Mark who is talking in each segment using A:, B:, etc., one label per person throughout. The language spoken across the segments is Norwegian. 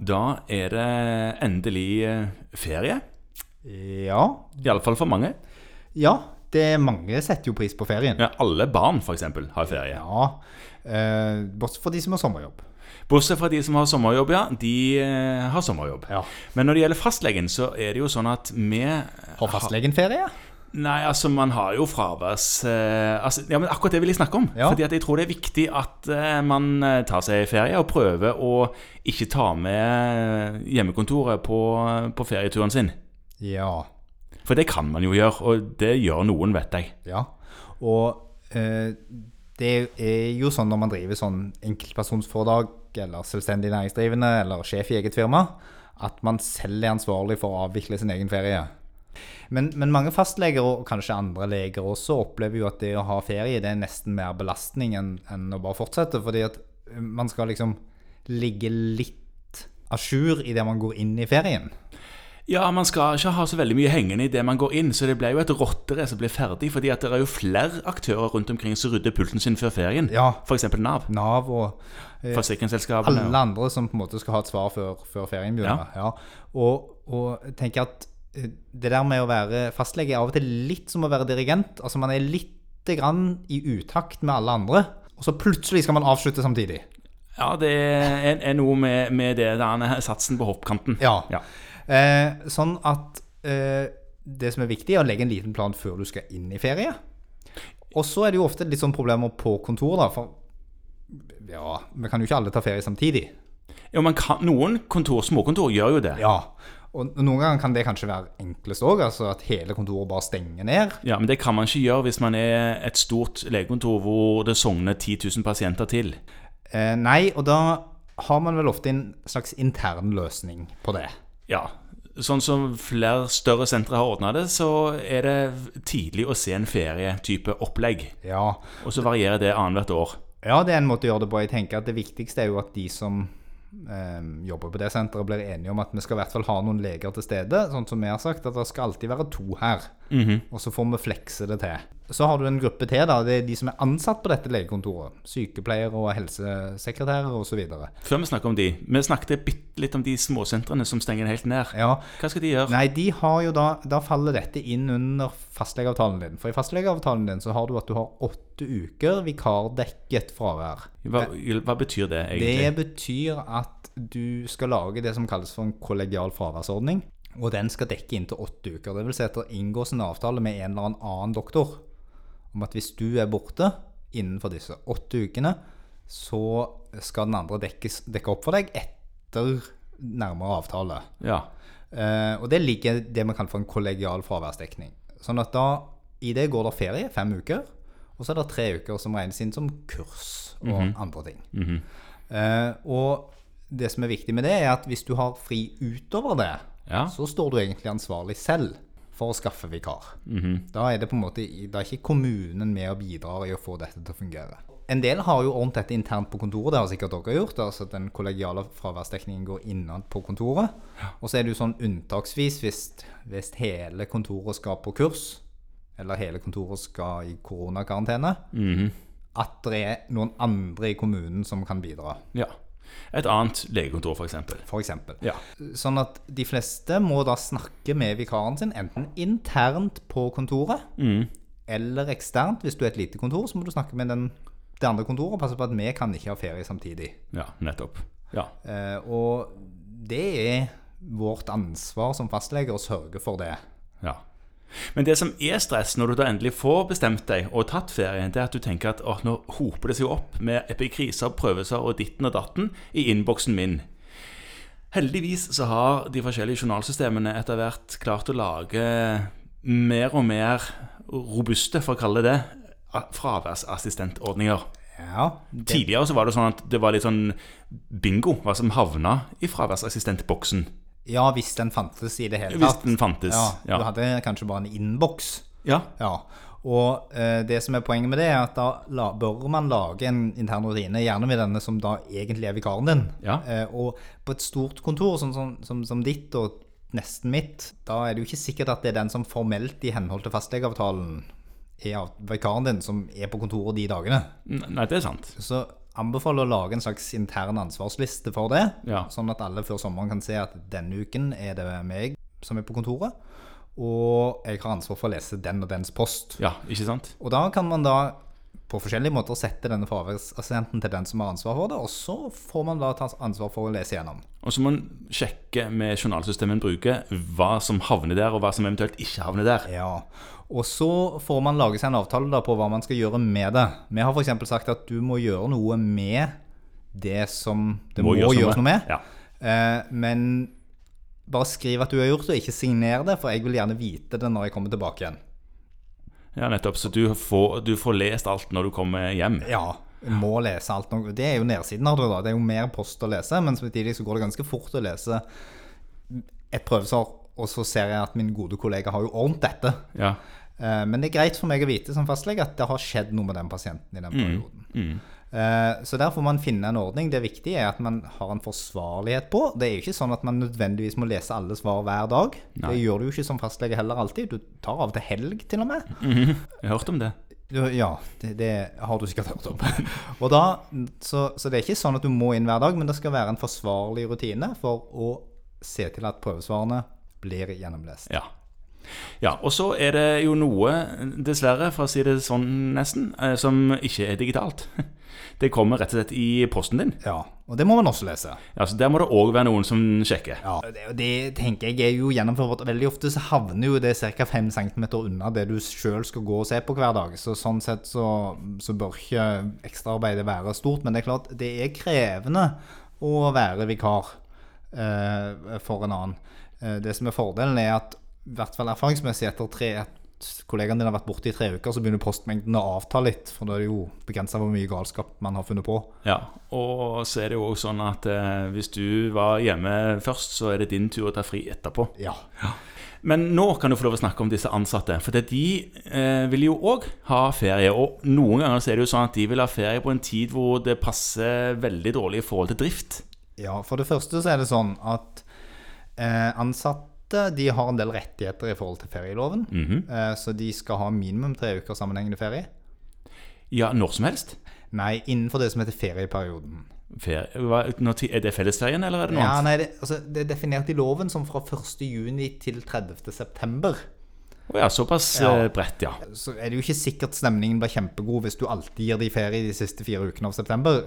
A: Da er det endelig eh, ferie.
B: Ja.
A: Iallfall for mange.
B: Ja, det er mange setter jo pris på ferien.
A: Ja, alle barn for eksempel, har ferie.
B: Eh, bortsett fra de som har sommerjobb.
A: Bortsett fra de som har sommerjobb, ja. De eh, har sommerjobb.
B: Ja.
A: Men når det gjelder fastlegen, så er det jo sånn at vi
B: Har fastlegen ferie?
A: Nei, altså man har jo fraværs... Eh, altså, ja, men akkurat det vil jeg snakke om.
B: Ja.
A: Fordi at jeg tror det er viktig at eh, man eh, tar seg ferie og prøver å ikke ta med eh, hjemmekontoret på, på ferieturen sin.
B: Ja.
A: For det kan man jo gjøre, og det gjør noen, vet jeg.
B: ja. Og eh, det er jo sånn når man driver sånn enkeltpersonsforetak, eller selvstendig næringsdrivende, eller sjef i eget firma, at man selv er ansvarlig for å avvikle sin egen ferie. Men, men mange fastleger, og kanskje andre leger også, opplever jo at det å ha ferie det er nesten mer belastning enn enn å bare fortsette. Fordi at man skal liksom ligge litt à jour idet man går inn i ferien.
A: Ja, man skal ikke ha så veldig mye hengende i det man går inn, så det blir jo et rotterace som blir ferdig, fordi at det er jo flere aktører rundt omkring som rydder pulten sin før ferien.
B: Ja.
A: For eksempel Nav,
B: Nav og eh,
A: forsikringsselskapene.
B: alle andre som på en måte skal ha et svar før, før ferien begynner. Ja. Og, og tenker at eh, det der med å være fastlege er av og til litt som å være dirigent. Altså man er lite grann i utakt med alle andre, og så plutselig skal man avslutte samtidig.
A: Ja, det er, er noe med, med det der satsen på hoppkanten.
B: Ja.
A: Ja.
B: Eh, sånn at eh, det som er viktig, er å legge en liten plan før du skal inn i ferie. Og så er det jo ofte litt sånn problemer på kontor, da. For ja, vi kan jo ikke alle ta ferie samtidig.
A: Jo, man kan, noen kontor, småkontor gjør jo det. Ja.
B: Ja. Og noen ganger kan det kanskje være enklest òg, altså at hele kontoret bare stenger ned.
A: Men det kan man ikke gjøre hvis man er et stort legekontor hvor det sogner 10 000 pasienter til.
B: Eh, nei, og da har man vel ofte en slags intern løsning på det.
A: Ja, Sånn som flere større sentre har ordna det, så er det tidlig å se en ferietype opplegg.
B: Ja.
A: Og så varierer det annethvert år.
B: ja, det er en måte å gjøre det på. Jeg tenker at det viktigste er jo at de som eh, jobber på det senteret, blir enige om at vi skal i hvert fall ha noen leger til stede. Sånn som vi har sagt, at det skal alltid være to her. Og så får vi flekse det til. Så har du en gruppe til, da. Det er de som er ansatt på dette legekontoret. Sykepleiere og helsesekretærer osv.
A: Før vi snakker om de, vi snakket bitte litt om de småsentrene som stenger helt ned.
B: Ja,
A: Hva skal de gjøre?
B: Nei, de har jo da, da faller dette inn under fastlegeavtalen din. For i fastlegeavtalen din så har du at du har åtte uker vikardekket fravær.
A: Hva, hva betyr det egentlig?
B: Det betyr at du skal lage det som kalles for en kollegial fraværsordning. Og den skal dekke inntil åtte uker. Det vil si at det inngås en avtale med en eller annen doktor om at hvis du er borte innenfor disse åtte ukene, så skal den andre dekkes, dekke opp for deg etter nærmere avtale.
A: Ja.
B: Eh, og det ligger det vi kaller for en kollegial fraværsdekning. Sånn at da, i det går det ferie, fem uker, og så er det tre uker som regnes inn som kurs og andre ting. Eh, og det som er viktig med det, er at hvis du har fri utover det,
A: Ja.
B: så står du egentlig ansvarlig selv for å skaffe vikar. Da er det på en måte, i- da er ikke kommunen med og bidrar i å få dette til å fungere. En del har jo ordnet dette internt på kontoret, det har sikkert dere gjort. altså at Den kollegiale fraværsdekningen går innad på kontoret. Og så er det jo sånn unntaksvis hvis, hvis hele kontoret skal på kurs, eller hele kontoret skal i koronakarantene, at det er noen andre i kommunen som kan bidra,
A: ja. Et annet legekontor, f.eks.
B: f.eks.
A: Ja.
B: Sånn at de fleste må da snakke med vikaren sin, enten internt på kontoret,
A: mm,
B: eller eksternt. Hvis du er et lite kontor, så må du snakke med den, det andre kontoret og passe på at vi kan ikke ha ferie samtidig.
A: ja, nettopp. Ja.
B: Eh, og det er vårt ansvar som fastleger å sørge for det.
A: ja. Men det som er stress når du da endelig får bestemt deg og tatt ferien, det er at du tenker at åh, nå hoper det seg opp med epikriser, prøvelser og ditten og datten i innboksen min. Heldigvis så har de forskjellige journalsystemene etter hvert klart å lage mer og mer robuste, for å kalle det det, fraværsassistentordninger.
B: Ja, det,
A: Tidligere så var det sånn at det var litt sånn bingo hva som havna i fraværsassistentboksen.
B: ja hvis den fantes i det hele
A: Hvis
B: tatt.
A: den fantes.
B: Ja,
A: Ja.
B: Du hadde kanskje bare en innboks.
A: Ja.
B: Ja. Og eh, det som er poenget med det, er at da la, bør man lage en intern rutine, gjerne med denne som da egentlig er vikaren din.
A: Ja.
B: Eh, og på et stort kontor sånn, som- som, som ditt og nesten mitt, da er det jo ikke sikkert at det er den som formelt i henhold til fastlegeavtalen er av- vikaren din, som er på kontoret de dagene.
A: N- Nei, det er sant.
B: Så anbefaler å lage en slags intern ansvarsliste for det.
A: Ja.
B: Sånn at alle før sommeren kan se at denne uken er det meg som er på kontoret. Og jeg har ansvar for å lese den og dens post.
A: Ja, ikke sant?
B: Og da kan man da på forskjellige måter sette denne fraværsassistenten til den som har ansvar for det, og så får man da ta ansvar for å lese gjennom.
A: Og så må man sjekke med journalsystemet en bruker, hva som havner der, og hva som eventuelt ikke havner der.
B: Ja, og så får man lage seg en avtale da på hva man skal gjøre med det. Vi har f.eks. sagt at du må gjøre noe med det som det må, gjøres noe med.
A: Ja.
B: Eh, men bare skriv at du har gjort det, og ikke signer det, for jeg vil gjerne vite det når jeg kommer tilbake igjen.
A: ja, nettopp. Så du får, du får lest alt når du kommer hjem.
B: Ja, må lese alt nå. Det er jo nedsiden av det, da. Det er jo mer post å lese, men samtidig så går det ganske fort å lese et prøvesvar, og så ser jeg at min gode kollega har jo ordnet dette.
A: Ja.
B: Eh, Men det er greit for meg å vite som fastlege at det har skjedd noe med den pasienten i den perioden. Eh, Så der får man finne en ordning. Det viktige er at man har en forsvarlighet på. Det er jo ikke sånn at man nødvendigvis må lese alle svar hver dag.
A: Nei.
B: Det gjør du jo ikke som fastlege heller alltid. Du tar av til helg, til og med.
A: Jeg har hørt om det.
B: Du, ja, det, det har du sikkert hørt om. og da, så, så det er ikke sånn at du må inn hver dag, men det skal være en forsvarlig rutine for å se til at prøvesvarene blir gjennomlest.
A: Ja. Ja, Og så er det jo noe, dessverre, for å si det sånn nesten, eh, som ikke er digitalt. Det kommer rett og slett i posten din.
B: Ja, og det må man også lese.
A: Altså, der må det òg være noen som sjekker.
B: Ja, det, og det tenker jeg er jo gjennomførbart. Veldig ofte så havner jo det ca. 5 cm unna det du sjøl skal gå og se på hver dag. Så sånn sett så, så bør ikke ekstraarbeidet være stort. Men det er klart, det er krevende å være vikar eh, for en annen. Eh, det som er fordelen, er at i hvert fall erfaringsmessig etter tre at kollegaen din har vært borte i tre uker, så begynner postmengden å avta litt. For da er det jo begrensa hvor mye galskap man har funnet på.
A: Ja, Og så er det jo òg sånn at eh, hvis du var hjemme først, så er det din tur å ta fri etterpå.
B: Ja.
A: Men nå kan du få lov å snakke om disse ansatte. For det, de eh, vil jo òg ha ferie. Og noen ganger så er det jo sånn at de vil ha ferie på en tid hvor det passer veldig dårlig i forhold til drift.
B: Ja, for det første så er det sånn at eh, ansatte de har en del rettigheter i forhold til ferieloven.
A: Mhm.
B: eh, så de skal ha minimum tre uker sammenhengende ferie.
A: Ja, når som helst.
B: Nei, innenfor det som heter ferieperioden.
A: Ferie, hva, når ti- er det fellesferien, eller er det noe
B: Ja,
A: annet?
B: nei, det, altså, det er definert i loven som fra 1. juni til 30. september.
A: Å ja, såpass
B: Ja.
A: eh, bredt, ja.
B: Så er det jo ikke sikkert stemningen blir kjempegod hvis du alltid gir de ferie de siste fire ukene av september.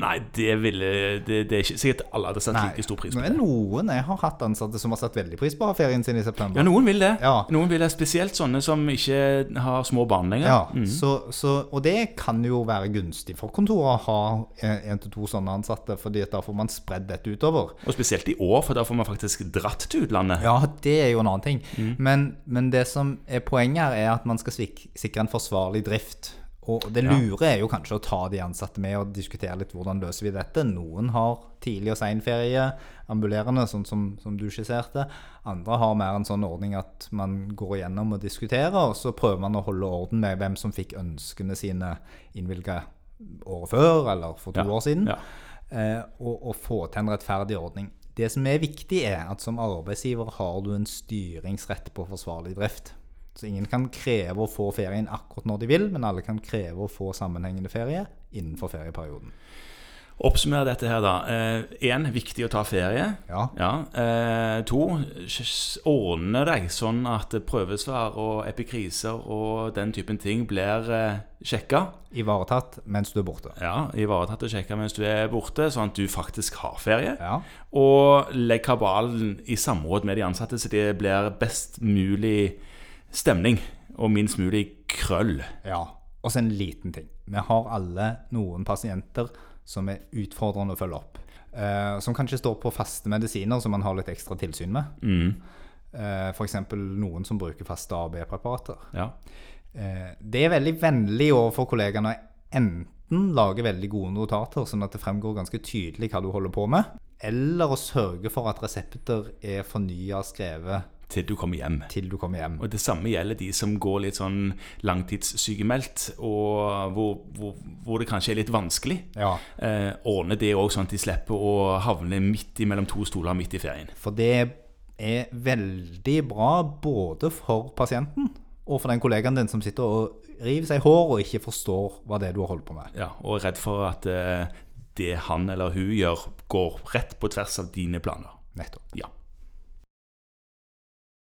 A: Nei, det ville Det, det er ikke sikkert alle hadde satt like stor pris på.
B: men noen jeg har hatt ansatte som har satt veldig pris på å ha ferien sin i september.
A: Ja, noen vil det.
B: Ja.
A: Noen vil det, Spesielt sånne som ikke har små barn lenger.
B: Ja, så, så, og det kan jo være gunstig for kontoret å ha eh, en til to sånne ansatte, fordi at da får man spredd dette utover.
A: Og spesielt i år, for da får man faktisk dratt til utlandet.
B: Ja, det er jo en annen ting. Men, men det som er poenget her, er at man skal svik- sikre en forsvarlig drift. Og det lure er jo kanskje å ta de ansatte med og diskutere litt hvordan løser vi dette. Noen har tidlig og sein ferie, ambulerende, sånn som, som du skisserte. Andre har mer en sånn ordning at man går igjennom og diskuterer, og så prøver man å holde orden med hvem som fikk ønskene sine innvilga året før, eller for to
A: Ja,
B: år siden
A: ja.
B: eh, og, og få til en rettferdig ordning. Det som er viktig, er at som arbeidsgiver har du en styringsrett på forsvarlig drift. Så ingen kan kreve å få ferien akkurat når de vil, men alle kan kreve å få sammenhengende ferie innenfor ferieperioden.
A: Oppsummer dette her, da. Én, viktig å ta ferie.
B: Ja.
A: Eh, to, s- ordne deg sånn at prøvesvar og epikriser og den typen ting blir eh, sjekka.
B: Ivaretatt mens du er borte.
A: Ja, ivaretatt og sjekka mens du er borte, sånn at du faktisk har ferie.
B: Ja.
A: Og legg kabalen i samråd med de ansatte, så det blir best mulig stemning og minst mulig krøll.
B: ja. Og så en liten ting. Vi har alle noen pasienter som er utfordrende å følge opp. Eh, som kanskje står på faste medisiner som man har litt ekstra tilsyn med. Eh, F.eks. noen som bruker faste AB-preparater.
A: Ja.
B: Eh, Det er veldig vennlig overfor kollegene å enten lage veldig gode notater, sånn at det fremgår ganske tydelig hva du holder på med, eller å sørge for at resepter er fornya og skrevet
A: Til du kommer hjem.
B: til du kommer hjem.
A: Og det samme gjelder de som går litt sånn langtidssykemeldt, og hvor, hvor, hvor det kanskje er litt vanskelig.
B: Ja,
A: Eh, ordne det òg, sånn at de slipper å havne midt i mellom to stoler midt i ferien.
B: for det er veldig bra både for pasienten og for den kollegaen din som sitter og river seg i håret og ikke forstår hva det er du har holdt på med.
A: Ja, og er redd for at eh, det han eller hun gjør, går rett på tvers av dine planer.
B: Nettopp.
A: Ja.